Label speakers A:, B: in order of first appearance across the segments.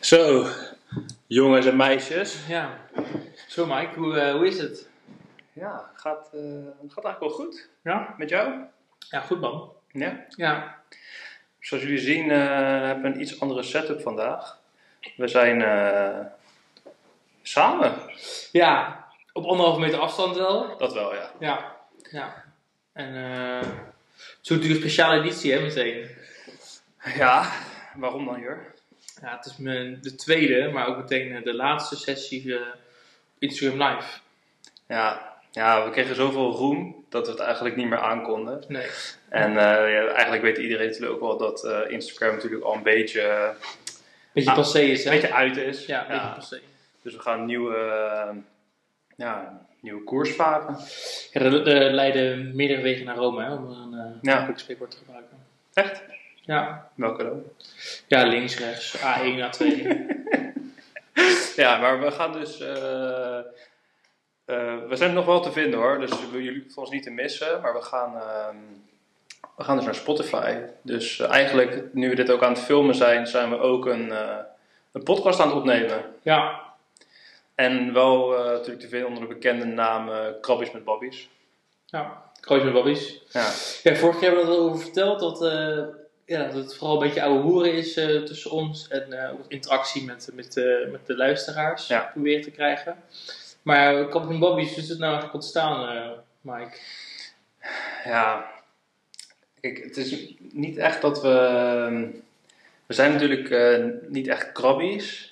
A: Zo, jongens en meisjes.
B: Ja. Zo Mike, hoe, eh, hoe is het?
A: Ja, gaat, eh, gaat eigenlijk wel goed.
B: Ja?
A: Met jou?
B: Ja, goed man.
A: Ja.
B: Ja.
A: Zoals jullie zien eh, hebben we een iets andere setup vandaag. We zijn eh, samen.
B: Ja, op anderhalve meter afstand wel.
A: Dat wel, ja.
B: Ja. Ja. En eh, het is natuurlijk een speciale editie hè, meteen.
A: Ja, waarom dan, Jur?
B: Ja, het is mijn, de tweede, maar ook meteen eh, de laatste sessie eh, Instagram Live.
A: Ja, ja, we kregen zoveel roem dat we het eigenlijk niet meer aankonden.
B: Nee.
A: En eh, ja, eigenlijk weet iedereen natuurlijk ook wel dat eh, Instagram natuurlijk al een beetje,
B: Beetje
A: Ah,
B: passé is hè?
A: een beetje uit is.
B: ja, een beetje passé.
A: Dus we gaan een nieuwe, eh, ja, nieuwe koers varen.
B: Ja, er, er leiden meerdere wegen naar Rome hè, om een eh
A: Ja.
B: makkelijk spreekwoord te gebruiken.
A: Echt?
B: Ja.
A: Welke dan?
B: Ja, links, rechts, A1, A2.
A: Ja, maar we gaan dus. eh, eh, we zijn nog wel te vinden hoor, dus we willen jullie hoeven ons niet te missen. Maar we gaan, ehm, we gaan dus naar Spotify. Dus eh, eigenlijk, nu we dit ook aan het filmen zijn, zijn we ook een, eh, een podcast aan het opnemen.
B: ja.
A: En wel eh, natuurlijk te vinden onder de bekende naam eh Krabbies met Babbies.
B: Ja, Kroos met Babbies.
A: Ja.
B: Ja, vorige keer hebben we er over verteld dat, eh, ja, dat het vooral een beetje oude hoeren is eh, tussen ons en eh, ook wat interactie met, met, eh, met de luisteraars
A: Ja.
B: proberen te krijgen. Maar uh, Kampioen Babbies, hoe is het nou eigenlijk ontstaan, eh, Mike?
A: Ja, kijk, het is niet echt dat we. ehm, We zijn natuurlijk eh, niet echt krabbies,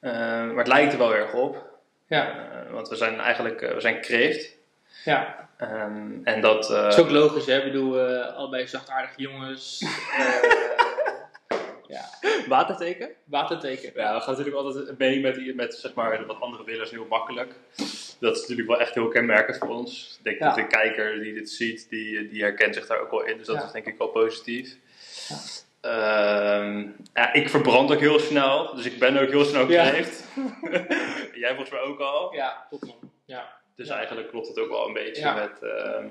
A: Eh, maar het lijkt er wel erg op.
B: Ja,
A: Eh, want we zijn eigenlijk eh, we zijn kreeft.
B: ja.
A: Ehm, en dat. eh,
B: dat is ook logisch, hè? Ik bedoel, eh, allebei zachtaardige jongens. eh,
A: Waterteken?
B: waterteken.
A: Ja, we gaan natuurlijk altijd mee met, met zeg maar, wat andere willers heel makkelijk. Dat is natuurlijk wel echt heel kenmerkend voor ons. Ik denk
B: Ja.
A: dat de kijker die dit ziet, die, die herkent zich daar ook wel in. Dus dat
B: Ja.
A: is denk ik wel positief. Ehm, ja, ik verbrand ook heel snel, dus ik ben ook heel snel
B: Ja.
A: geleefd. Jij volgens mij ook al.
B: Ja, top man. Ja.
A: Dus
B: Ja.
A: eigenlijk klopt het ook wel een beetje
B: Ja.
A: met, ehm,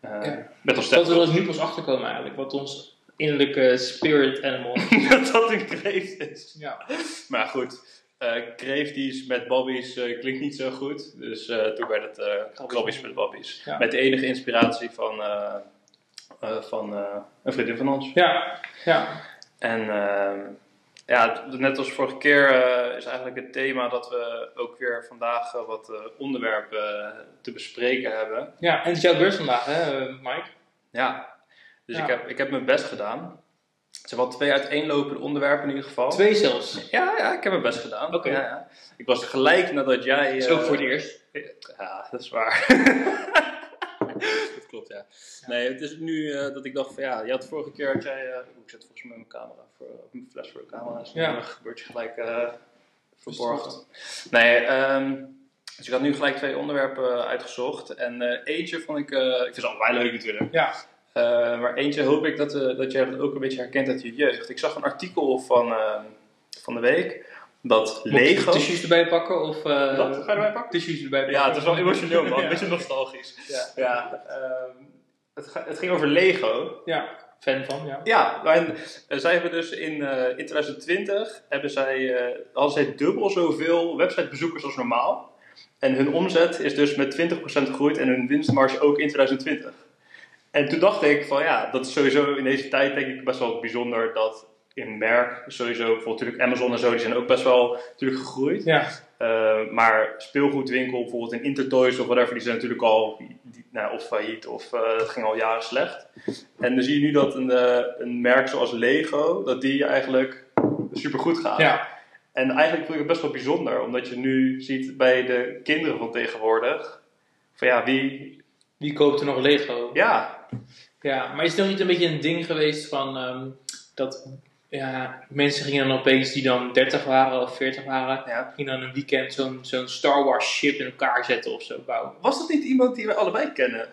A: eh,
B: Ja.
A: met ons
B: Dat we
A: stem.
B: er dus nu pas achterkomen eigenlijk, wat ons innerlijke spirit animal is.
A: dat dat een kreeft is.
B: Ja.
A: Maar goed, eh kreefties met babbies eh, klinkt niet zo goed. Dus eh, toen werd het eh krabbies met babbies.
B: Ja.
A: Met de enige inspiratie van, eh, eh, van eh, een vriendin van ons.
B: Ja, ja.
A: En ehm, ja, t- net als vorige keer eh, is eigenlijk het thema dat we ook weer vandaag eh, wat eh, onderwerpen eh, te bespreken hebben.
B: Ja, en het is jouw beurs vandaag, hè, eh, Mike?
A: Ja, dus
B: Ja.
A: Ik, heb, ik heb mijn best gedaan. Het zijn wel twee uiteenlopende onderwerpen in ieder geval.
B: Twee zelfs.
A: Ja, ja, ik heb mijn best gedaan.
B: Oké.
A: Ja, ja. Ik was gelijk nadat jij...
B: Dat is
A: eh,
B: ook voor het eerst.
A: Ja, dat is waar. dat klopt, ja. Nee, het is nu eh, dat ik dacht van ja, je had vorige keer had jij. eh, ik zet volgens mij mijn camera voor of mijn fles voor de camera. Dus
B: Ja.
A: dan gebeurt je gelijk eh, verborgen. Nee, ehm, dus ik had nu gelijk twee onderwerpen uitgezocht. En eh, eentje vond ik. eh, ik vind ze allebei leuk natuurlijk.
B: Ja.
A: Eh, maar eentje hoop ik dat, eh, dat jij dat ook een beetje herkent uit je jeugd. Ik zag een artikel van, eh, van de week dat
B: Moet ik
A: Lego.
B: Tissues erbij pakken of... eh,
A: Wat? Ga je erbij pakken?
B: Tissues erbij pakken.
A: Ja, het is wel emotioneel man,
B: Ja.
A: een beetje nostalgisch.
B: Ja.
A: Ja, ehm, het, ga- het ging over Lego.
B: Ja, fan van, ja.
A: Ja, en eh, zij hebben dus in, eh, in 2020 hebben zij, eh, hadden zij dubbel zoveel websitebezoekers als normaal. En hun omzet is dus met 20% gegroeid en hun winstmarge ook in 2020. En toen dacht ik van ja, dat is sowieso in deze tijd denk ik best wel bijzonder dat in merk sowieso, bijvoorbeeld natuurlijk Amazon en zo, die zijn ook best wel natuurlijk gegroeid.
B: Ja,
A: Eh, maar speelgoedwinkel, bijvoorbeeld in Intertoys of whatever, die zijn natuurlijk al die, nou, of failliet of eh, het ging al jaren slecht. En dan zie je nu dat een, eh, een merk zoals Lego, dat die eigenlijk supergoed gaat.
B: ja.
A: En eigenlijk vind ik het best wel bijzonder, omdat je nu ziet bij de kinderen van tegenwoordig, van ja, wie,
B: Wie koopt er nog Lego?
A: ja,
B: Ja, maar is het nog niet een beetje een ding geweest van... ehm, dat ja, mensen gingen dan opeens die dan 30 waren of 40 waren...
A: ja.
B: gingen dan een weekend zo'n zo'n Star Wars ship in elkaar zetten of zo bouwen.
A: Was dat niet iemand die we allebei kennen?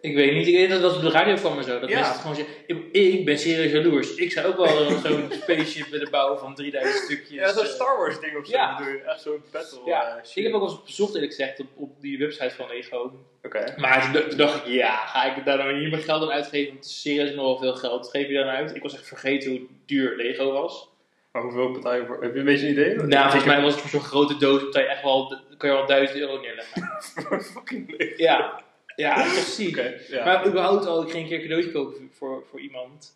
B: Ik weet niet, ik weet dat dat op de radio kwam en zo. Dat
A: Ja.
B: mensen het gewoon zeggen, ik, ik ben serieus jaloers. Ik zou ook wel eh, zo'n spaceship willen bouwen van 3000 stukjes.
A: Ja, zo'n
B: eh.
A: Star Wars ding of zo,
B: Ja.
A: bedoel je? echt zo'n battle.
B: Ja,
A: eh, shit.
B: ik heb ook wel eens bezocht eerlijk gezegd op, op die website van Lego.
A: Oké.
B: Maar toen d- toen dacht ik, ja, ga ik daar nou niet mijn geld aan uitgeven? Want het is serieus nogal veel geld. Geef je daar nou uit? Ik was echt vergeten hoe duur Lego was.
A: Maar hoeveel partijen voor? Heb je een beetje een idee?
B: Nou, volgens mij was het voor zo'n grote doos, betaal je echt wel, kan je wel 1000 euro neerleggen.
A: mij. Fucking leuk.
B: Ja, ja, dat is toch ziek.
A: Oké, ja.
B: Maar überhaupt al, ik ging een keer een cadeautje kopen voor, voor iemand.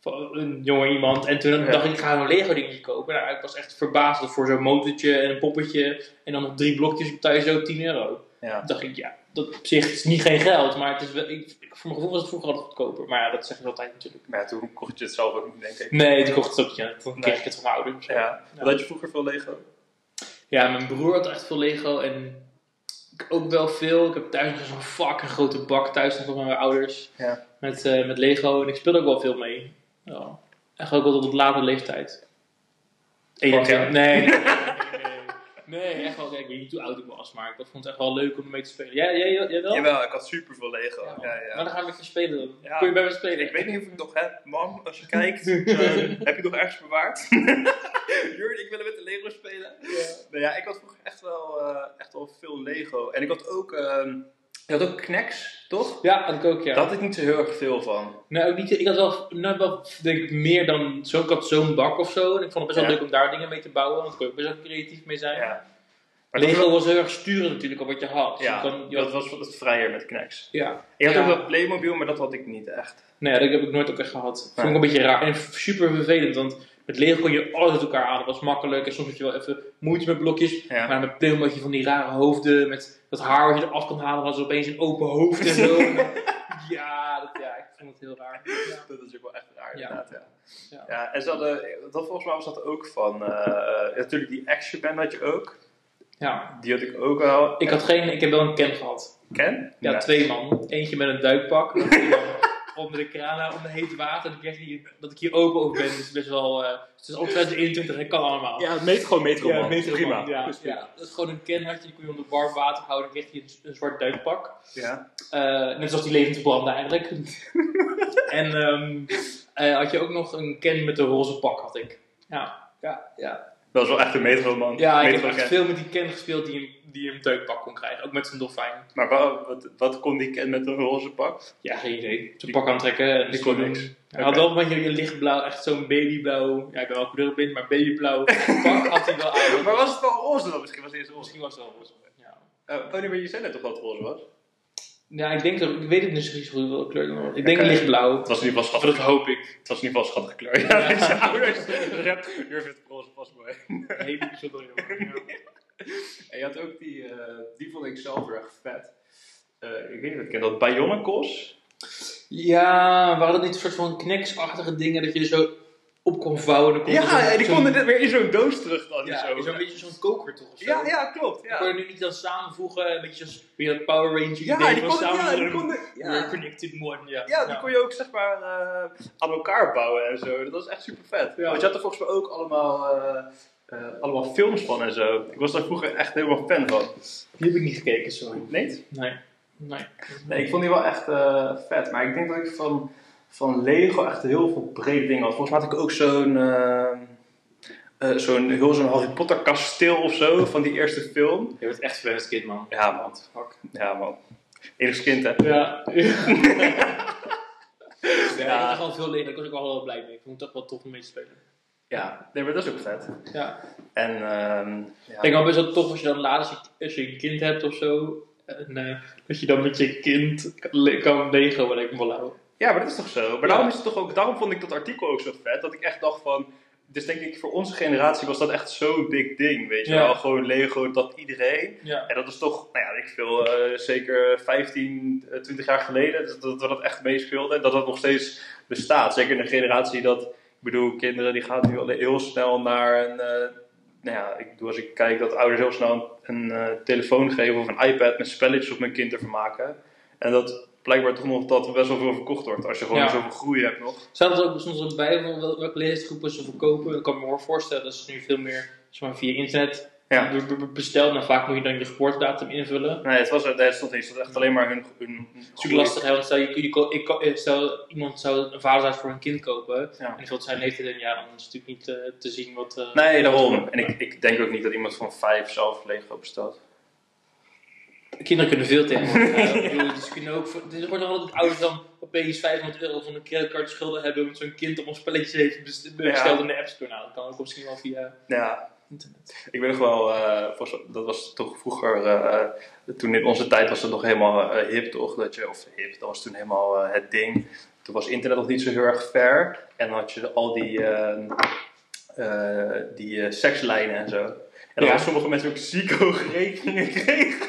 B: Voor een jonger iemand. En toen
A: Ja.
B: dacht ik, ik ga een Lego dingetje kopen. Nou, ik was echt verbaasd dat voor zo'n motortje en een poppetje. En dan nog drie blokjes betaal je zo 10 euro.
A: ja.
B: Toen dacht ik, ja, dat op zich is niet geen geld. Maar het is wel, ik, ik- voor mijn gevoel was het vroeger altijd goedkoper. Maar ja, dat zeg ik altijd natuurlijk.
A: Maar ja, toen kocht je het zelf ook niet, denk ik.
B: Nee, toen kocht het ook, ja, toen
A: Nee.
B: kreeg ik het van mijn ouders. Ja.
A: Ja. Wat Had je vroeger veel Lego?
B: ja, mijn broer had echt veel Lego. En ik ook wel veel. Ik heb thuis nog zo'n fucking grote bak thuis nog van mijn ouders.
A: Ja.
B: met, eh, met Lego en ik speel ook wel veel mee. Ja. Echt ook wel tot op latere leeftijd.
A: jaar?
B: 21? Nee. nee, nee. Nee, echt wel. Kijk, ik weet niet hoe oud ik was, maar ik vond het echt wel leuk om mee te spelen. Jij, jij, jij wel?
A: Jawel, ik had super veel Lego. Ja, ja,
B: Maar dan gaan we even spelen dan.
A: Ja.
B: Kun je bij me spelen?
A: Ik weet niet of ik het nog heb. Mam, als je kijkt, eh, heb je het nog ergens bewaard? Jurgen, ik wil er met de Lego spelen. Nou ja, ik had vroeger echt wel, eh, echt wel veel Lego. En ik had ook, ehm je had ook Knacks, toch?
B: Ja, had ik ook, ja.
A: Daar had ik niet zo heel erg veel van.
B: Nee, ook niet, ik had wel, nou, wel denk ik, meer dan zo. Ik had zo'n bak of zo. En ik vond het best wel
A: Ja.
B: leuk om daar dingen mee te bouwen, want daar kon je ook best wel creatief mee zijn.
A: Ja. Maar dat
B: Lego
A: was-
B: was heel erg sturen natuurlijk op wat je had. Dus
A: ja,
B: je kon, je
A: dat
B: had-
A: was wat vrijer met Knacks.
B: ja.
A: Ik had
B: Ja.
A: ook wel Playmobil, maar dat had ik niet echt.
B: Nee, dat heb ik nooit ook echt gehad. Vond ik
A: Nee.
B: een beetje raar en super vervelend, want met Lego kon je alles uit elkaar halen. Dat was makkelijk en soms had je wel even moeite met blokjes.
A: Ja.
B: Maar met Playmobil had je van die rare hoofden, met dat haar wat je eraf kon halen, hadden ze opeens een open hoofd en zo. En dan- ja, dat, ja, ik vond het heel raar. Ja.
A: Dat is ook wel echt raar,
B: Ja.
A: inderdaad. Ja.
B: Ja.
A: Ja. en ze hadden, dat volgens mij was dat ook van. eh, natuurlijk, die Action Man had je ook.
B: Ja.
A: Die had ik ook wel.
B: Ik, had geen, ik heb wel een camp gehad.
A: Ken?
B: Ja,
A: Nee.
B: twee man. Eentje met een duikpak. en die dan onder de kraan, onder heet water. En ik kreeg hier, dat ik hier open over ben, is best wel... eh, het is al 2021, dat kan allemaal.
A: Ja, meet, gewoon metro.
B: Ja, meter
A: Prima.
B: Ja, ja, dat is gewoon een kenhartje, die kun je onder warm water houden. Dan kreeg je een, een zwart duikpak.
A: Ja.
B: Eh, net zoals die levend branden eigenlijk. en ehm, eh, had je ook nog een ken met een roze pak, had ik. Ja, ja, ja.
A: Dat is wel echt een metro, man.
B: ja ik heb
A: Metro
B: echt
A: Ken.
B: veel met die ken gespeeld die hem, die hem duikpak kon krijgen. Ook met zijn dolfijn.
A: Maar wa- wat, wat kon die Ken met een roze pak?
B: Ja, geen idee. Zijn pak aantrekken. En
A: die kon
B: zo'n-
A: niks.
B: Hij had wel een beetje een lichtblauw, echt zo'n babyblauw. Ja, ik ben wel kleurenblind, maar babyblauw pak had hij wel aan.
A: Maar was het wel roze dan? Misschien was het eerst roze.
B: Misschien was het wel roze. Ja.
A: Eh, oh nee, maar je zei net toch dat het roze was?
B: Ja, ik denk dat ik weet het niet zo goed welke kleur het was. Ik denk
A: Oké.
B: lichtblauw.
A: Het was in ieder geval
B: Dat
A: schattig.
B: hoop ik.
A: Het was in ieder geval een schattige kleur.
B: Ja.
A: Ja, deze ouders. Rap, Jur vindt het roze pas mooi.
B: Een hele bijzondere jongen. ja.
A: En je had ook die, eh, die vond ik zelf erg vet. Eh, ik weet niet of ik ken dat Bionicos.
B: Ja, waren dat niet een soort van kneksachtige dingen dat je zo op kon vouwen? en Dan kon
A: Ja, en die konden
B: dit
A: dit weer in zo'n doos terug dan.
B: ja,
A: zo.
B: zo'n beetje zo'n koker toch? Of zo?
A: ja, ja, klopt. Ja,
B: Kon je nu niet dan samenvoegen, een beetje zoals weer dat Power Ranger
A: ja,
B: idee
A: die
B: van
A: konden,
B: samen
A: ja, die
B: doen.
A: konden,
B: We're
A: ja.
B: connected one, ja.
A: Ja, die kon je ook zeg maar eh, aan elkaar bouwen en zo. Dat was echt super vet.
B: Ja.
A: Want je had er volgens mij ook allemaal, eh, eh, allemaal films van en zo. Ik was daar vroeger echt helemaal fan van.
B: Die heb ik niet gekeken, sorry.
A: Nee?
B: Nee. Nee.
A: Nee, ik vond die wel echt eh, vet. Maar ik denk dat ik van, van Lego echt heel veel brede dingen had. Volgens mij had ik ook zo'n... eh, eh, zo'n heel zo'n Harry Potter kasteel of zo van die eerste film.
B: Je bent echt verwend als kind, man.
A: Ja man,
B: Fuck.
A: ja man. Enigst kind hè.
B: Ja. Ja, ik had
A: Ja,
B: echt wel veel leren. Daar was ik wel heel blij mee. Ik vond het echt wel tof om mee te spelen.
A: ja. Nee, maar dat is ook vet.
B: Ja.
A: En ehm ja.
B: Ik denk wel best wel tof als je dan later, als je, als je een kind hebt of zo. En eh, dat je dan met je kind kan le- kan Lego en ik wil houden.
A: Ja, maar dat is toch zo. Maar
B: Ja.
A: daarom, is het toch ook, daarom vond ik dat artikel ook zo vet. Dat ik echt dacht van... Dus denk ik, voor onze generatie was dat echt zo'n big ding. Weet je
B: Ja.
A: wel, gewoon Lego, dat iedereen.
B: Ja.
A: En dat is toch, nou ja, weet ik veel, eh, zeker 15, eh, 20 jaar geleden. Dat dat, we dat echt meespeelden. En dat dat nog steeds bestaat. Zeker in een generatie dat... Ik bedoel, kinderen die gaan nu al heel snel naar een... eh, nou ja, ik bedoel, als ik kijk dat ouders heel snel een, eh, telefoon geven of een iPad met spelletjes op mijn kind te vermaken. En dat blijkbaar toch nog dat er best wel veel verkocht wordt. Als je gewoon
B: Ja.
A: zoveel groei hebt nog.
B: Staat er ook soms een bij van wel- welke leeftijdsgroepen ze verkopen? Ik kan me wel voorstellen dat ze nu veel meer zeg maar, via internet
A: Ja.
B: be- be- be- bestellen. En vaak moet je dan je geboortedatum invullen.
A: Nee, het was, nee, het stond niet. Het stond echt alleen maar hun... hun
B: Het is natuurlijk lastig, hè, want stel, je, je, ko- ik, ko- eh, stel iemand zou een vaderzaad voor een kind kopen.
A: Ja.
B: En die vult zijn leeftijd in, ja, dan is het natuurlijk niet eh, te zien wat... eh,
A: Nee, daarom. En ik, ik denk ook niet dat iemand van vijf zelf Lego bestelt.
B: Kinderen kunnen veel tegenwoordig. eh, ik bedoel, dus kunnen ook voor, dus wordt nog altijd ouders dan opeens 500 euro van een creditcard schulden hebben. Omdat zo'n kind op ons spelletje heeft best- besteld
A: Ja.
B: in de App Store. Nou, dat kan ook misschien wel via
A: Ja,
B: internet.
A: ik weet nog wel, eh, volgens- dat was toch vroeger, eh, toen in onze tijd was het nog helemaal eh, hip toch? Dat je, of hip, dat was toen helemaal eh, het ding. Toen was internet nog niet zo heel erg ver. En dan had je al die, eh, eh, die eh, sekslijnen en zo. En dan
B: Ja.
A: hadden sommige mensen ook zieke hoge rekeningen kregen.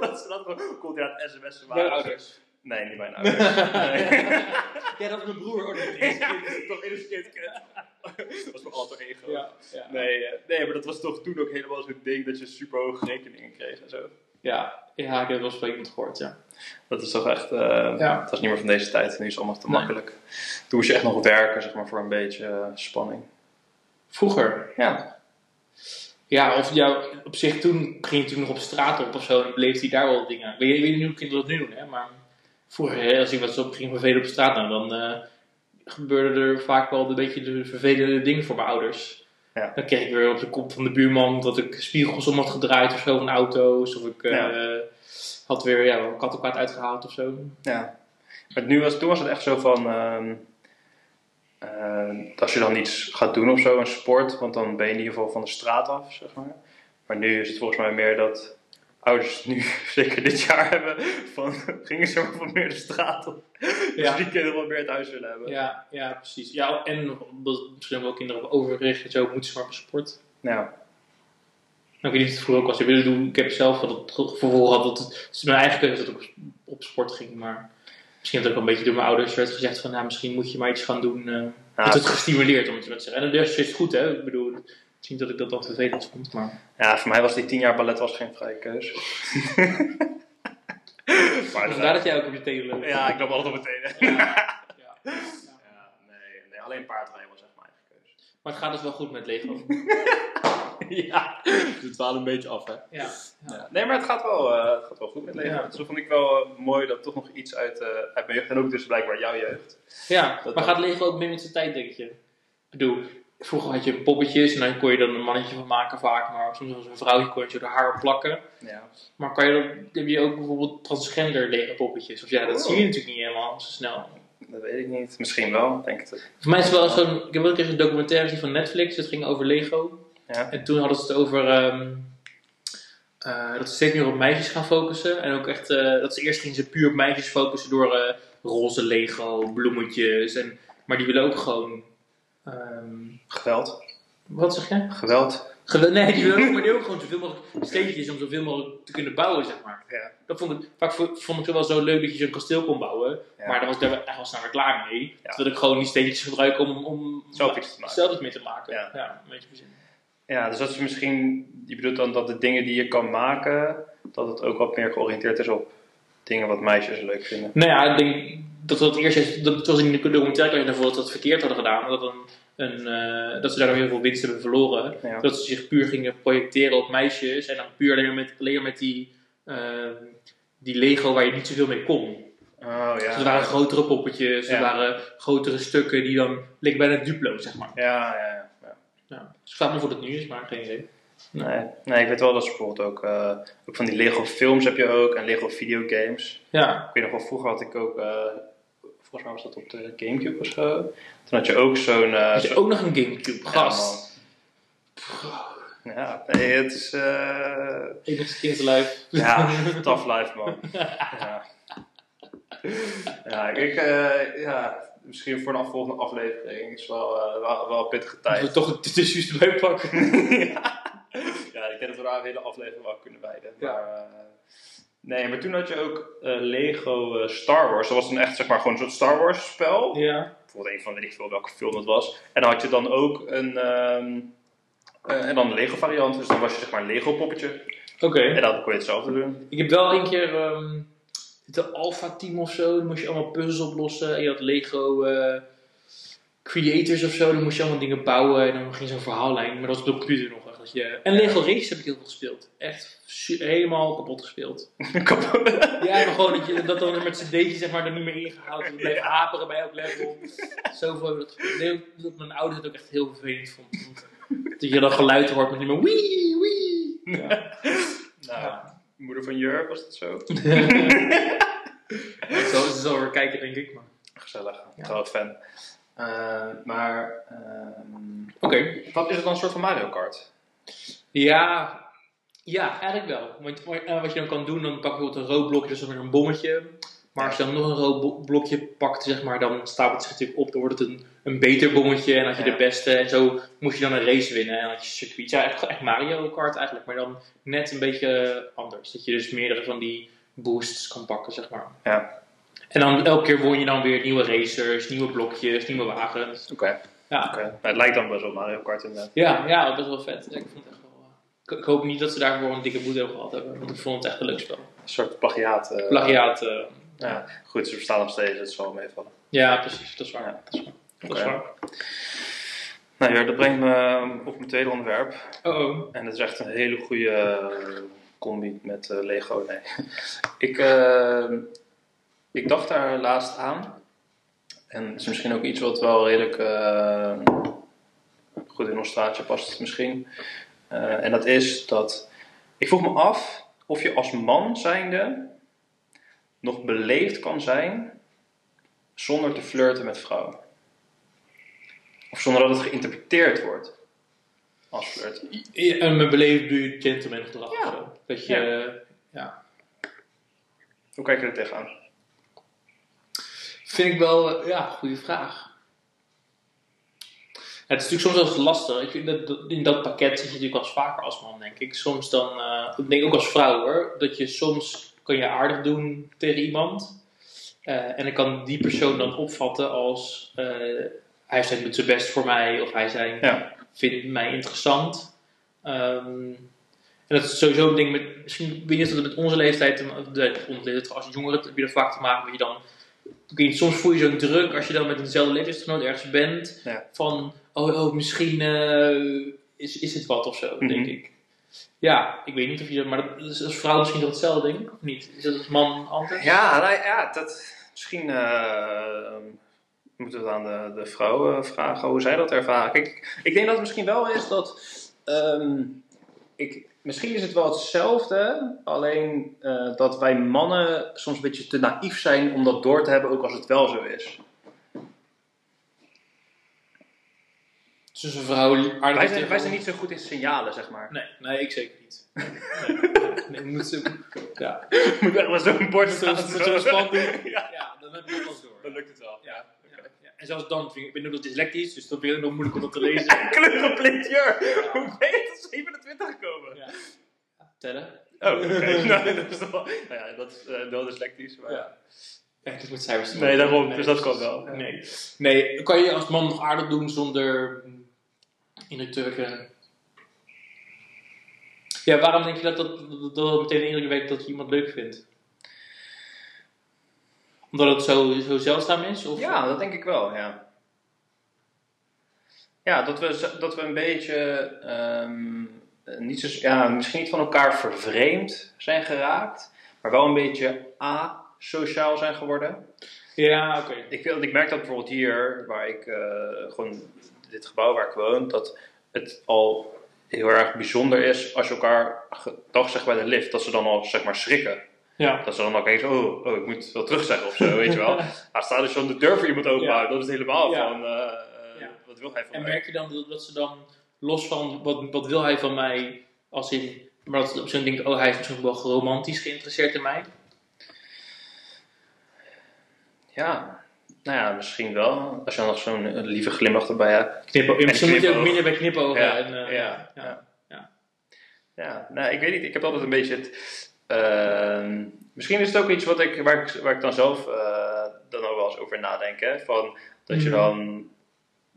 A: dat ze dat gewoon continu sms'en
B: Bij de
A: waren.
B: ouders.
A: Nee, niet mijn ouders. Nee.
B: Ja, dat is mijn broer. Oh, dat is
A: Ja, toch illustreerd kut. Dat was mijn alter ego.
B: ja, ja.
A: Nee, eh, nee, maar dat was toch toen ook helemaal zo'n ding dat je super hoge rekeningen kreeg en zo.
B: Ja, ja, ik heb wel sprekend gehoord, ja.
A: Dat is toch echt, eh,
B: Ja.
A: dat is niet meer van deze tijd. Nu is het allemaal te
B: Nee.
A: makkelijk. Toen moest je echt nog werken, zeg maar, voor een beetje eh, spanning.
B: Vroeger.
A: Ja.
B: Ja, of jou, op zich toen ging je toen nog op straat op of zo en bleef hij daar wel dingen. Ik weet, ik weet niet hoe kinderen dat nu doen, hè, maar vroeger, hè, als ik wat op ging vervelen op straat, nou, dan eh, gebeurde er vaak wel een beetje de vervelende dingen voor mijn ouders.
A: Ja.
B: Dan kreeg ik weer op de kop van de buurman dat ik spiegels om had gedraaid of zo van auto's. Of ik eh, had weer ja, een kattenkwaad uitgehaald of zo.
A: ja. Maar nu was, toen was het echt zo van, ehm, eh, als je dan iets gaat doen of zo, een sport, want dan ben je in ieder geval van de straat af, zeg maar. Maar nu is het volgens mij meer dat ouders nu, zeker dit jaar, hebben van, gingen ze maar van meer de straat op.
B: Ja.
A: Dus die kinderen wel meer het huis willen hebben.
B: Ja, ja, precies. Ja, en omdat misschien wel kinderen op overgewicht en zo moeten ze maar op sport.
A: Ja.
B: Nou, ik weet niet of het vroeger ook was. Ik, weet niet, ik heb zelf wel het gevoel gehad dat het, het is mijn eigen keuze dat ik op, op sport ging. Maar misschien dat ook wel een beetje door mijn ouders werd gezegd van... Nou, misschien moet je maar iets gaan doen. eh dat het gestimuleerd, om het zo maar te zeggen. En dat is juist goed, hè. Ik bedoel, het is niet dat ik dat dan vervelend vond, maar...
A: Ja, voor mij was die 10 jaar ballet was geen vrije keus. maar
B: Vandaar dat jij ook op je tenen loopt.
A: Ja, ik loop altijd op meteen.
B: Ja. Ja.
A: Ja, nee, nee, alleen paardrijden was echt mijn eigen keus.
B: Maar het gaat dus wel goed met Lego.
A: ja, Dus het dwaalde een beetje af, hè?
B: Ja.
A: Ja. Nee, maar het gaat wel, eh, het gaat wel goed met leven.
B: Ja.
A: Dus dat vond ik wel eh, mooi dat toch nog iets uit, eh, uit mijn jeugd en ook dus blijkbaar jouw jeugd.
B: Ja,
A: Dat
B: maar
A: dan.
B: gaat Lego ook mee met zijn tijd, denk je? Ik bedoel, vroeger had je poppetjes en dan kon je er een mannetje van maken vaak, maar soms was een vrouwtje, kon je er haar op plakken.
A: Ja.
B: Maar kan je dan, heb je ook bijvoorbeeld transgender Lego poppetjes? Of ja, dat
A: Oh.
B: zie je natuurlijk niet helemaal zo snel.
A: Dat weet ik niet. Misschien wel, denk ik. het.
B: Voor mij is het wel zo'n, ik heb ook eens een documentaire gezien van Netflix, dat ging over Lego.
A: Ja.
B: En toen hadden ze het over ehm, eh, dat ze steeds meer op meisjes gaan focussen. En ook echt, eh, dat ze eerst gingen ze puur op meisjes focussen door eh, roze Lego, bloemetjes. En, maar die willen ook gewoon... ehm,
A: Geweld.
B: Wat zeg jij?
A: Geweld.
B: Gel- nee, die wil ook, maar die ook gewoon zoveel mogelijk steentjes om zoveel mogelijk te kunnen bouwen, zeg maar.
A: Ja.
B: Dat vond ik, vaak vo- vond ik het wel zo leuk dat je zo'n kasteel kon bouwen,
A: Ja.
B: maar daar was ik daar echt wel snel weer klaar mee.
A: Ja.
B: Dat ik gewoon die steentjes gebruik om, om
A: Zelf iets te maken.
B: zelf iets mee te maken.
A: Ja.
B: Ja, een beetje verzinnen.
A: Ja, dus dat is misschien... Je bedoelt dan dat de dingen die je kan maken, dat het ook wat meer georiënteerd is op dingen wat meisjes leuk vinden.
B: Nou ja, ik denk dat dat eerst is, dat het was in de documentaire dat je daarvoor dat ze dat verkeerd hadden gedaan, dat, een, een, eh, dat ze daardoor heel veel winst hebben verloren.
A: Ja.
B: Dat ze zich puur gingen projecteren op meisjes en dan puur alleen maar met, alleen maar met die, ehm, die Lego waar je niet zoveel mee kon.
A: Oh ja.
B: Dus er waren grotere poppetjes,
A: Ja.
B: er waren grotere stukken die dan leek bijna Duplo, zeg maar.
A: Ja, ja, ja, ja.
B: Ja. Dus ik vraag me voor dat nu is, maar geen idee.
A: Nee, nee, ik weet wel dat ze bijvoorbeeld ook, eh, ook van die Lego films heb je ook en Lego videogames.
B: Ja,
A: Ik weet nog wel, vroeger had ik ook, eh, volgens mij was dat op de Gamecube of zo. Toen had je ook zo'n... eh,
B: had je
A: zo'n-
B: ook nog een Gamecube, gast.
A: Ja, man. Ja, nee, het is... eh,
B: Enigste kind live.
A: ja, tough life man. Ja, ja ik, eh, ja, misschien voor een volgende aflevering. Het is wel, eh, wel, wel een pittige tijd.
B: Moeten we toch de tissues erbij pakken.
A: ja, ik denk dat we daar een hele aflevering wel kunnen wijden.
B: Ja.
A: Maar, eh, nee, maar toen had je ook eh, Lego eh, Star Wars. Dat was dan echt zeg maar gewoon zo'n Star Wars spel.
B: Ja.
A: Bijvoorbeeld een van weet ik veel welke film het was. En dan had je dan ook een... ehm, eh, en dan een Lego variant. Dus dan was je zeg maar een Lego poppetje.
B: Oké.
A: En dan kon je hetzelfde doen.
B: Ik heb wel een keer ehm, de Alpha Team of zo, dan moest je allemaal puzzels oplossen. En je had Lego eh, Creators of zo, dan moest je allemaal dingen bouwen. En dan ging zo'n verhaallijn, maar dat was op de computer nog echt. dat je... En Lego Race heb ik heel veel gespeeld. Echt su- helemaal kapot gespeeld.
A: Kapot.
B: Ja, maar gewoon dat je dat dan met z'n deetje zeg maar er niet meer ingehaald. Dat blijft haperen bij elk level. Zoveel hebben we dat gespeeld. Nee, dat mijn ouders het ook echt heel vervelend vonden. Want Dat je dan geluid hoort met niet meer wee, wee. Ja.
A: nou,
B: Ja.
A: Moeder van Jur, was dat zo?
B: Zo is het wel weer kijken, denk ik. Maar...
A: Gezellig,
B: Ja.
A: groot fan. Eh, maar ehm,
B: Oké.
A: wat is het dan een soort van Mario Kart?
B: Ja, ja, eigenlijk wel. Want eh, wat je dan kan doen, dan pak je bijvoorbeeld een rood blokje, dus dan weer een bommetje. Maar als je dan nog een rood bo- blokje pakt, zeg maar, dan stapelt het zich natuurlijk op. Dan wordt het een, een beter bommetje en had je
A: Ja.
B: de beste. En zo moest je dan een race winnen en had je circuit. Ja, echt, echt Mario Kart eigenlijk, maar dan net een beetje eh, anders. Dat je dus meerdere van die boosts kan pakken, zeg maar.
A: Ja.
B: En dan elke keer won je dan weer nieuwe racers, nieuwe blokjes, nieuwe wagens.
A: Oké.
B: Ja.
A: Oké. Maar het lijkt dan best wel Mario Kart inderdaad.
B: Ja, ja, best wel vet. Ja, ik vond het echt wel. eh, Ik, ik hoop niet dat ze daarvoor een dikke boete over gehad hebben, want ik vond het echt een leuk spel.
A: Een soort plagiaat. eh,
B: Plagiaat. eh,
A: Ja. Goed, ze bestaan nog steeds, het zal wel meevallen.
B: ja, precies, dat is waar.
A: Ja.
B: Dat is waar. Dat is
A: Oké.
B: waar.
A: Nou Jur, dat brengt me eh, op mijn tweede onderwerp.
B: Oh, oh.
A: En dat is echt een hele goede eh, combi met eh, Lego. Nee. ik, eh, ik dacht daar laatst aan. En het is misschien ook iets wat wel redelijk eh, goed in ons straatje past, misschien. Eh, en dat is dat. Ik vroeg me af of je als man zijnde nog beleefd kan zijn zonder te flirten met vrouwen. Of zonder dat het geïnterpreteerd wordt als flirten.
B: Ja, En mijn beleefd doe je gentleman gedrag.
A: Ja.
B: of zo. Dat je, eh,
A: Hoe kijk je er tegenaan?
B: Vind ik wel, eh, ja, goede vraag. Het is natuurlijk soms wel eens lastig. Ik vind dat, dat- in dat pakket zit je natuurlijk wel eens vaker als man, denk ik. Soms dan, eh, ik denk ook als vrouw hoor, dat je soms kan je aardig doen tegen iemand. Eh, en dan kan die persoon dan opvatten als eh, hij zijn doet zijn best voor mij of hij zijn,
A: Ja.
B: vindt mij interessant. Ehm, en dat is sowieso een ding met, misschien ik weet niet of dat met onze leeftijd, te ma- de- onze leeftijd, als jongeren heb je er vaak te maken dat je dan ik weet niet, soms voel je zo'n druk als je dan met eenzelfde leeftijdsgenoot ergens bent.
A: Ja.
B: Van, oh, oh misschien eh, is, is het wat of zo, denk
A: Mhm. ik.
B: ik. Ja, ik weet niet of je dat, maar dat is als vrouw misschien toch hetzelfde ding, of niet? Is dat als man anders?
A: Ja, nou ja dat, misschien eh, moeten we het aan de, de vrouw eh, vragen hoe zij dat ervaren. Kijk, ik denk dat het misschien wel is dat. ehm, ik, misschien is het wel hetzelfde, alleen eh, dat wij mannen soms een beetje te naïef zijn om dat door te hebben, ook als het wel zo is.
B: Dus als een vrouw aardig
A: Wij zijn,
B: tegen-
A: wij zijn niet zo goed in signalen, zeg maar.
B: Nee, nee, ik zeker niet. Nee, nee, moet ze... Ja,
A: Moet wel eens zo'n bord
B: Zo'n- zo'n span doen.
A: Ja,
B: ja dan heb ik het pas door.
A: dan lukt het wel.
B: Ja, ja, ja. En zelfs dan, vind ik, ik ben ook nog dyslectisch, dus dat vind ik ook nog moeilijk om dat te lezen.
A: Kleurenblind, jur. Hoe ben je tot 27 gekomen?
B: Ja. Tellen.
A: Oh, oké. nou, dat is toch wel- nou ja, dat is eh, wel dyslectisch. Maar...
B: Ja. Ja, het is met cijfers. te
A: Nee, daarom.
B: maken.
A: Dus dat kan wel.
B: Nee. nee, kan je als man nog aardig doen zonder indruk te wekken? Ja, waarom denk je dat dat, dat, dat meteen de indruk wekt dat je iemand leuk vindt? Omdat het zo, zo zeldzaam is? Of?
A: Ja, dat denk ik wel, ja. Ja, dat we, z- dat we een beetje, ehm, eh, niet zo, ja, misschien niet van elkaar vervreemd zijn geraakt, maar wel een beetje asociaal zijn geworden.
B: Ja, oké.
A: Ik, wil- ik merk dat bijvoorbeeld hier, waar ik eh, gewoon dit gebouw waar ik woon, dat het al heel erg bijzonder is als je elkaar gedag zegt bij de lift, dat ze dan al zeg maar schrikken.
B: Ja.
A: Dat ze dan ook eens, oh, oh, ik moet wel terugzeggen of zo, weet je wel. Maar staat dus de deur voor iemand openhouden, dat is het helemaal
B: Ja.
A: van, eh, eh,
B: Ja.
A: wat wil hij van
B: En
A: mij?
B: merk je dan dat, dat ze dan, los van wat, wat wil hij van mij, als in... Maar dat ze op zo'n ding, oh, hij is misschien wel romantisch geïnteresseerd in mij.
A: Ja, nou ja, misschien wel. Als je dan nog zo'n eh, lieve glimlach erbij hebt.
B: Knippen,
A: En
B: misschien moet je ook
A: knipoog.
B: minder bij knipogen.
A: Ja,
B: en, eh,
A: ja,
B: ja.
A: ja.
B: ja.
A: Ja, nou, ik weet niet, ik heb altijd een beetje het... ehm, misschien is het ook iets wat ik, waar, ik, waar ik dan zelf eh, dan ook wel eens over nadenk, hè. Van, dat je
B: Mhm.
A: dan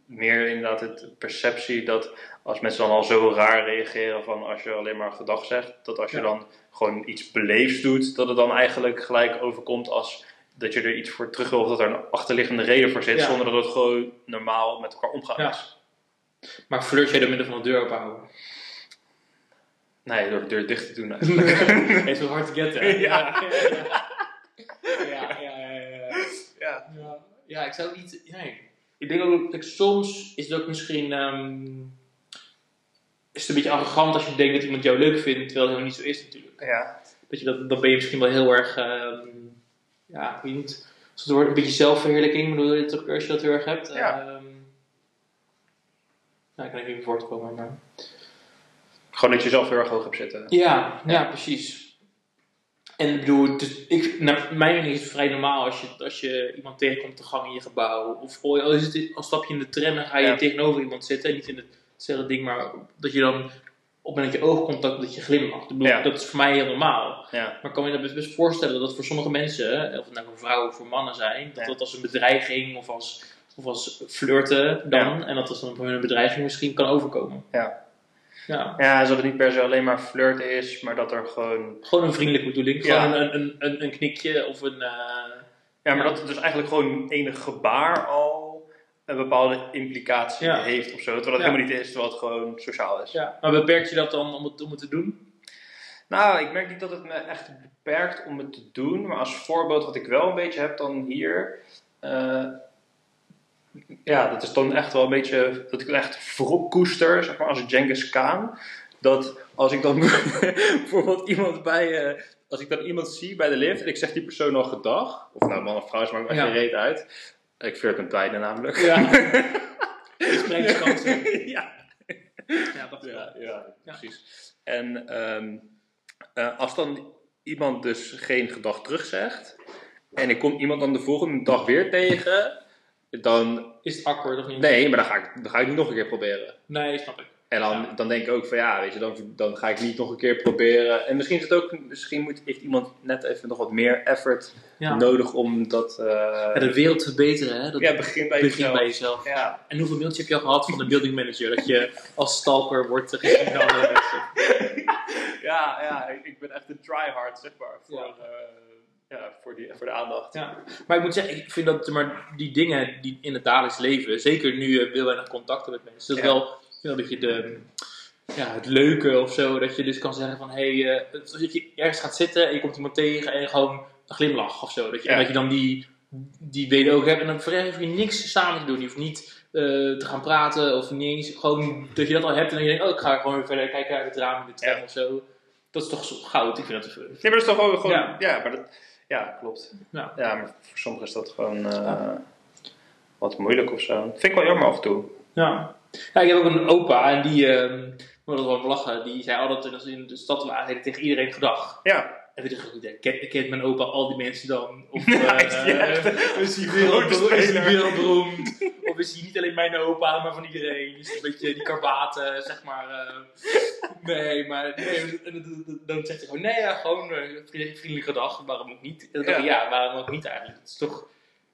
A: meer inderdaad het perceptie dat als mensen dan al zo raar reageren van als je alleen maar gedag zegt, dat als je
B: Ja.
A: dan gewoon iets beleefds doet, dat het dan eigenlijk gelijk overkomt als dat je er iets voor terug wil of dat er een achterliggende reden voor zit,
B: Ja.
A: zonder dat het gewoon normaal met elkaar omgaan
B: Ja.
A: is.
B: Maar flirt jij door middel van de deur openhouden?
A: Nee, door de deur dicht te doen eigenlijk.
B: Het is wel hard to get, hè?
A: Ja.
B: Ja, ja, ja. ja, ja, ja.
A: ja.
B: Ja, ja, ik zou het niet. Nee. Ik denk ook dat ik soms is het ook misschien. ehm, is het een beetje arrogant als je denkt dat iemand jou leuk vindt, terwijl het helemaal niet zo is natuurlijk.
A: Ja.
B: Dat je dat, dan ben je misschien wel heel erg, ehm, ja, je niet, als het wordt een beetje zelfverheerlijking, bedoel je toch als je dat heel erg hebt.
A: Ja.
B: Ehm, nou, ik kan even niet voortkomen, maar.
A: Gewoon dat je zelf heel erg hoog hebt zitten.
B: Ja,
A: eh,
B: ja, precies. En ik bedoel, het is- ik, naar mijn mening is het vrij normaal als je, als je iemand tegenkomt op de gang in je gebouw. Of al is het, al stap je in de tram en ga je
A: Ja.
B: tegenover iemand zitten. Niet in hetzelfde ding, maar dat je dan op het moment dat je oogcontact, dat je glimlacht. Ik bedoel,
A: Ja.
B: dat is voor mij heel normaal.
A: Ja.
B: Maar ik kan je dat best, best voorstellen dat voor sommige mensen, of het nou voor vrouwen of voor mannen zijn, dat
A: Ja.
B: dat als een bedreiging of als, of als flirten dan, en dat dat dan voor hun een bedreiging misschien kan overkomen.
A: Ja.
B: Ja.
A: ja, zodat het niet per se alleen maar flirten is, maar dat er gewoon...
B: Gewoon een vriendelijke bedoeling.
A: Ja.
B: Gewoon een, een, een, een knikje of een. eh,
A: Ja, maar dat het dus eigenlijk gewoon enig gebaar al een bepaalde implicatie
B: Ja.
A: heeft of zo. Terwijl het
B: Ja.
A: helemaal niet is, terwijl het gewoon sociaal is.
B: ja. Maar beperkt je dat dan om het, om het te doen?
A: Nou, ik merk niet dat het me echt beperkt om het te doen. Maar als voorbeeld wat ik wel een beetje heb dan hier. eh, ja, dat is dan echt wel een beetje dat ik echt wrok koester, zeg maar, als Genghis Khan. Dat als ik dan bijvoorbeeld iemand bij, eh, als ik dan iemand zie bij de lift en ik zeg die persoon al gedag. Of nou, man of vrouw, ze maakt me echt
B: Ja.
A: geen reet uit. Ik flirt met beide namelijk.
B: Ja. Gesprekskansen.
A: ja.
B: Ja, dat wel.
A: Ja, ja,
B: Ja.
A: precies. En ehm, eh, als dan iemand dus geen gedag terugzegt, en ik kom iemand dan de volgende dag weer tegen, dan
B: Is het akkoord of niet?
A: nee, maar dan ga ik, dan ga ik niet nog een keer proberen.
B: Nee, snap ik.
A: En dan,
B: Ja.
A: dan denk ik ook van ja, weet je, dan, dan ga ik niet nog een keer proberen. En misschien is het ook, misschien moet, heeft iemand net even nog wat meer effort
B: Ja.
A: nodig om dat. eh,
B: Ja, de wereld verbeteren, hè? Dat
A: ja, begin bij
B: begint
A: jezelf.
B: bij jezelf.
A: Ja.
B: En hoeveel mailtjes heb je al gehad van de building manager? Dat je als stalker wordt eh, gezien door andere mensen?
A: ja, ja, ik ik ben echt een tryhard, zeg maar, voor,
B: Ja.
A: eh, ja, voor, die, voor de aandacht.
B: Ja. Maar ik moet zeggen, ik vind dat maar die dingen die in het dagelijks leven, zeker nu eh, heel weinig contacten met mensen, dat
A: Ja.
B: wel, ik vind wel dat je de, ja, het leuke of zo, dat je dus kan zeggen van hé, hey, eh, als je ergens gaat zitten en je komt iemand tegen en gewoon een glimlach of zo. Dat je, en
A: Ja.
B: dat je dan die, die weder ook hebt en dan verder hoef je niks samen te doen. Je hoeft niet eh, te gaan praten of niet eens, gewoon dat je dat al hebt en dan denk je, oh ik ga gewoon weer verder kijken uit het raam in de tram
A: Ja.
B: of zo. Dat is toch zo goud, ik vind dat
A: Nee, maar dat is toch gewoon... gewoon
B: Ja.
A: ja. maar dat, ja, klopt.
B: Ja.
A: maar voor sommigen is dat gewoon eh, wat moeilijk of zo. Vind ik wel jammer af en toe.
B: Ja. ja, ik heb ook een opa en die, ehm we hadden wel om lachen, die zei altijd als we in de stad waren, zei hij tegen iedereen gedag.
A: Ja.
B: En toen dacht ik, ik ken, kent mijn opa al die mensen dan? Of
A: is die echt
B: eh, is hij
A: grote
B: wereldberoemd? Is hij
A: speler?
B: wereldberoemd? of is hij niet alleen mijn opa, maar van iedereen? Is hij een beetje die karbaten, zeg maar. eh, nee, maar nee, en dan- dan- dan zegt hij gewoon, nee, ja, gewoon eh, vriendelijk vriendelijk gedag, waarom ook niet? En dan dacht ik, ja, waarom ook niet eigenlijk? Het is toch, het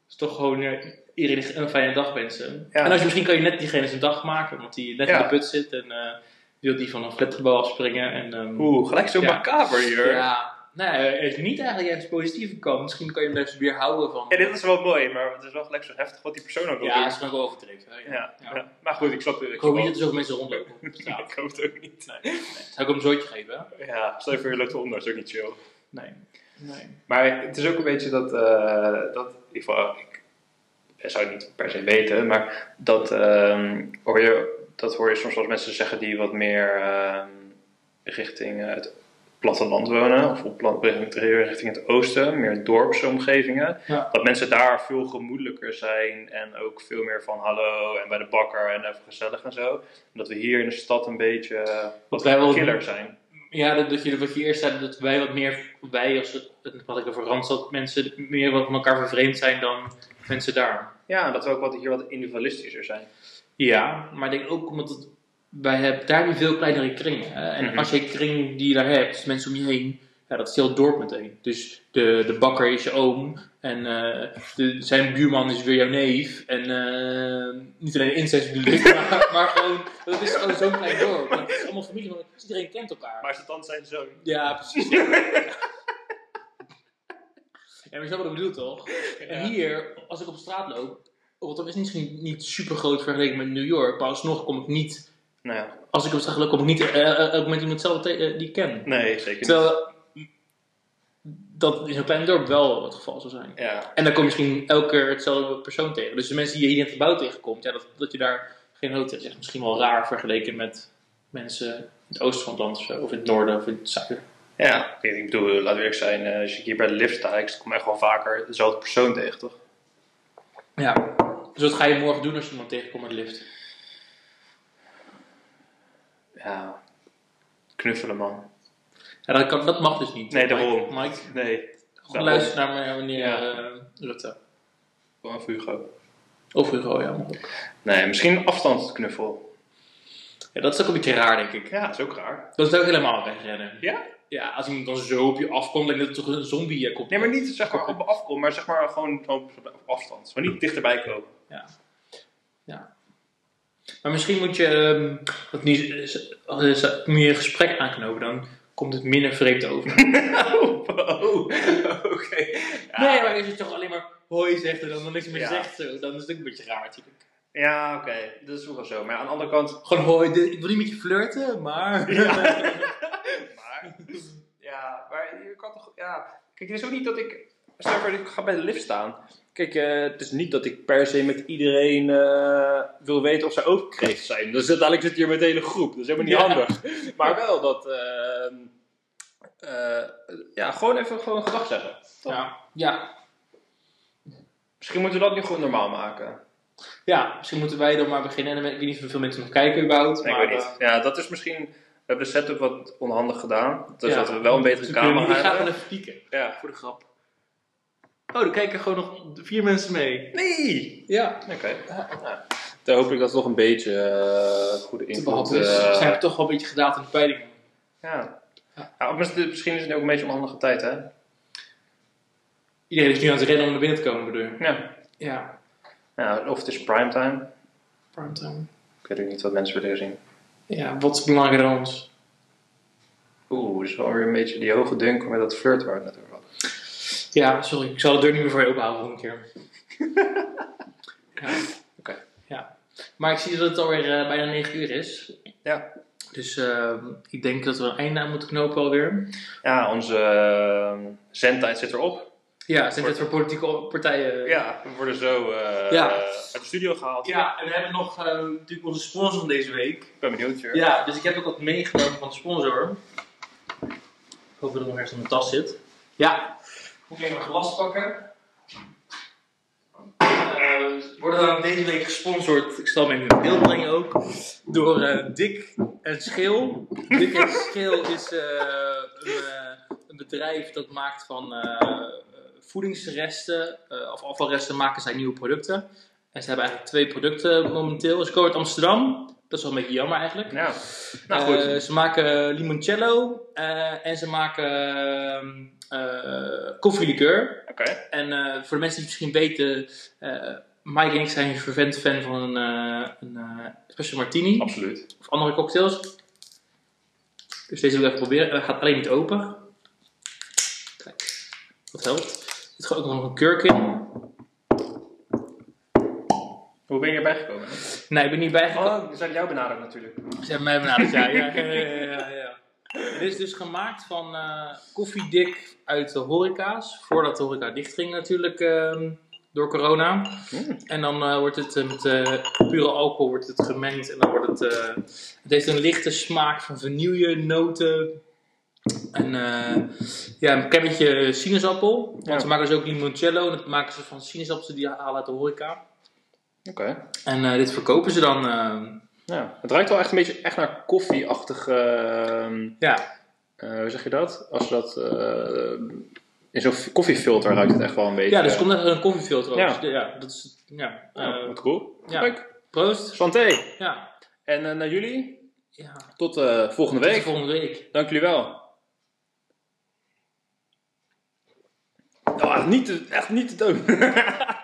B: is toch gewoon eh, iedereen een fijne dag wensen.
A: Ja.
B: En als je, misschien kan je net diegene zijn dag maken, want die net in
A: Ja.
B: de put zit en eh, wil die van een flatgebouw afspringen. En, ehm,
A: Oeh, gelijk zo
B: Ja.
A: macaber hier. Ja.
B: ja, nou, er is niet eigenlijk juist positieve kant. Misschien kan je hem daar eens weer houden van.
A: dit is wel mooi, maar het is wel gelijk zo heftig wat die persoon ook wil
B: ja,
A: doen.
B: is nog wel overdreven. hè, Ja.
A: Ja.
B: Ja.
A: Ja. Maar goed, ik snap het.
B: Ik hoop niet dat er zoveel mensen rondlopen op straat.
A: Ik hoop het ook niet.
B: Zou ik hem een zootje geven? hè?
A: Ja, stel je voor je loopt onder, dat is ook niet chill.
B: Nee. nee.
A: Maar het is ook een beetje dat, eh, dat in ieder geval, ik zou het niet per se weten, maar dat, ehm, hoor, je, dat hoor je soms als mensen zeggen die wat meer ehm, richting eh, het platteland wonen, of op plat- richting het oosten, meer dorpse omgevingen,
B: Ja.
A: dat mensen daar veel gemoedelijker zijn en ook veel meer van hallo en bij de bakker en even gezellig en zo. En dat we hier in de stad een beetje eh,
B: Wat wij wel
A: killer zijn.
B: Ja, dat, dat je, wat je eerst zei, dat wij wat meer, wij als het, het- wat ik over Randstad, mensen meer wat met elkaar vervreemd zijn dan mensen daar.
A: Ja, en dat we ook wat, hier wat individualistischer zijn.
B: Ja, maar ik denk ook omdat het, wij hebben daar een veel kleinere kring. eh, en
A: Mhm.
B: als je een kring die je daar hebt, dus mensen om je heen, ja, dat is heel het dorp meteen. Dus de, de bakker is je oom en eh, de, zijn buurman is weer jouw neef. En eh, niet alleen incest bedoel ik, maar, maar gewoon, dat is gewoon zo'n klein dorp. Het is allemaal familie, want iedereen kent elkaar.
A: Maar is het dan zijn zoon?
B: Ja, precies. Ja, maar je snapt wat ik bedoel toch? En hier, als ik op straat loop, Rotterdam is misschien niet super groot vergeleken met New York, maar alsnog kom ik niet,
A: Nou ja,
B: als ik op straat loop, kom ik niet eh, eh, elk moment iemand zelf te- eh, die ik ken.
A: nee, zeker niet.
B: Terwijl dat in zo'n klein dorp wel het geval zou zijn.
A: Ja,
B: En dan kom je misschien elke keer hetzelfde persoon tegen. Dus de mensen die je hier in het gebouw tegenkomt, ja, dat, dat je daar geen nood tegen is. Misschien wel raar vergeleken met mensen in het oosten van het land of zo, of in het noorden of in het zuiden.
A: Ja, ik, ik bedoel, laten we eerlijk zijn, eh, als je hier bij de lift sta, ik kom echt wel vaker dezelfde persoon tegen, toch?
B: Ja. Dus wat ga je morgen doen als je iemand tegenkomt met de lift?
A: Ja, knuffelen man.
B: Ja, dat, kan, dat mag dus niet.
A: Nee,
B: Mike.
A: daarom.
B: Mike,
A: Nee,
B: gewoon luisteren naar me- meneer
A: Ja.
B: eh, Rutte.
A: gewoon voor Hugo.
B: Of Hugo, ja. maar ook.
A: Nee, misschien een afstandsknuffel.
B: Ja, dat is ook een beetje raar, denk ik.
A: Ja, dat is ook raar.
B: Dat is ook helemaal wegrennen.
A: Ja?
B: Ja, als iemand dan zo op je afkomt, denk ik dat het toch een zombie eh, komt.
A: Nee, maar niet zeg maar op me afkomt, maar zeg maar gewoon op op afstand. Maar niet dichterbij komen.
B: Maar misschien moet je, ehm, dat nu, is- is- is- moet je een gesprek aanknopen, dan komt het minder vreemd over.
A: oh, oh, oké. Ja.
B: Nee, maar is het toch alleen maar hoi zegt en dan nog niks meer
A: Ja.
B: zegt, zo, dan is het ook een beetje raar natuurlijk.
A: Ja, oké. Dat is ook wel zo. Maar aan de andere kant...
B: Gewoon hoi, dit- ik wil niet met je flirten, maar...
A: maar... Ja, maar je kan toch... Ja. Kijk, het is ook niet dat ik... Stel voor, ik ga bij de lift staan. Kijk, eh, het is niet dat ik per se met iedereen eh, wil weten of zij ook kreeft zijn. Dus uiteindelijk zit hier met de hele groep. Dat is helemaal niet
B: Ja.
A: handig. Maar wel dat... ehm, eh, ja, gewoon even gewoon gedag zeggen.
B: Ja, ja,
A: Misschien moeten we dat nu gewoon normaal maken.
B: ja, misschien moeten wij dan maar beginnen. En dan- Ik weet niet hoeveel mensen nog kijken überhaupt.
A: Nee,
B: maar, eh,
A: ik weet niet. Ja, dat is misschien. We hebben de setup wat onhandig gedaan. Dus
B: Ja.
A: dat we wel een betere
B: Dus
A: camera
B: Ik ga
A: hebben.
B: wel even pieken,
A: Ja.
B: voor de grap. Oh, er kijken gewoon nog vier mensen mee.
A: Nee!
B: Ja,
A: Oké. Nou, dan hoop ik dat het nog een beetje eh, goede
B: te
A: invloed
B: behappen. Dus
A: eh,
B: zijn we toch wel een beetje gedaald in de peilingen.
A: ja. Ja, maar misschien is het ook een beetje onhandige tijd, hè?
B: Iedereen is nu aan het rennen om naar binnen te komen, bedoel je?
A: Ja.
B: Ja,
A: ja. Of het is primetime.
B: primetime.
A: Ik weet ook niet wat mensen willen zien.
B: Ja, wat is belangrijker dan ons?
A: Oeh, is wel weer een beetje die hoge dunk met dat flirt waar we het net over hadden.
B: Ja, sorry, ik zal de deur niet meer voor je openhouden volgende keer. ja.
A: Oké.
B: ja. Maar ik zie dat het alweer eh, bijna 9 uur is.
A: Ja.
B: Dus eh, ik denk dat we een einde aan moeten knopen alweer.
A: Ja, onze eh, zendtijd zit erop.
B: Ja, zijn dit voor politieke partijen? eh,
A: Ja, we worden zo eh,
B: Ja.
A: uit de studio gehaald.
B: Ja, en we hebben nog eh, natuurlijk onze sponsor van deze week.
A: Ik ben benieuwd, Jur.
B: Ja, dus ik heb ook wat meegenomen van de sponsor. Ik hoop dat het nog ergens in de tas zit. Ja. Moet ik even mijn glas pakken. Eh, we worden dan deze week gesponsord, ik zal hem even in beeld brengen ook, door eh, Dick en Schil. Dick en Schil is eh, een, eh, een bedrijf dat maakt van eh, voedingsresten, eh, of afvalresten maken zij nieuwe producten. En ze hebben eigenlijk twee producten momenteel. Ze komen uit Amsterdam, dat is wel een beetje jammer eigenlijk.
A: Ja. Nou goed.
B: Eh, ze maken limoncello eh, en ze maken ehm, eh, koffielikeur.
A: Oké.
B: En eh, voor de mensen die het misschien weten, eh Mike en ik zijn een fervent fan van een, eh, een eh, espresso martini
A: Absoluut.
B: of andere cocktails. Dus deze wil ik even proberen. Hij gaat alleen niet open. Kijk, dat helpt. Er zit gewoon ook nog een kurk in.
A: Hoe ben je erbij gekomen?
B: Nee, ik ben niet bijgekomen.
A: Oh, ze zijn jou benaderd natuurlijk.
B: Ze hebben mij benaderd, ja. ja, ja, ja, ja, ja. Het is dus gemaakt van eh, koffiedik uit de horeca's. Voordat de horeca dichtging natuurlijk ehm, door corona.
A: Mm.
B: En dan eh, wordt het eh, met eh, pure alcohol wordt het gemengd. En dan wordt het... eh, het heeft een lichte smaak van vanille, noten. En eh, ja, een klein beetje sinaasappel. Want
A: Ja.
B: ze maken dus ook limoncello. En dat maken ze van sinaasappels die ze halen uit de horeca.
A: Oké.
B: En eh, dit verkopen ze dan... eh,
A: Ja. Het ruikt wel echt een beetje echt naar koffieachtig. ehm,
B: ja,
A: eh, hoe zeg je dat? Als je dat. eh, in zo'n f- koffiefilter ruikt het echt wel een beetje.
B: Ja, dus komt net een koffiefilter ook.
A: Ja.
B: Dus de- Ja, dat is. Ja.
A: Ja,
B: eh,
A: wat cool.
B: ja.
A: Leuk.
B: proost.
A: Santé.
B: Ja.
A: En eh, naar jullie.
B: ja. Tot
A: Tot eh, volgende
B: de
A: week.
B: volgende week.
A: Dank jullie wel. Nou, Ah, niet te, echt niet te doen.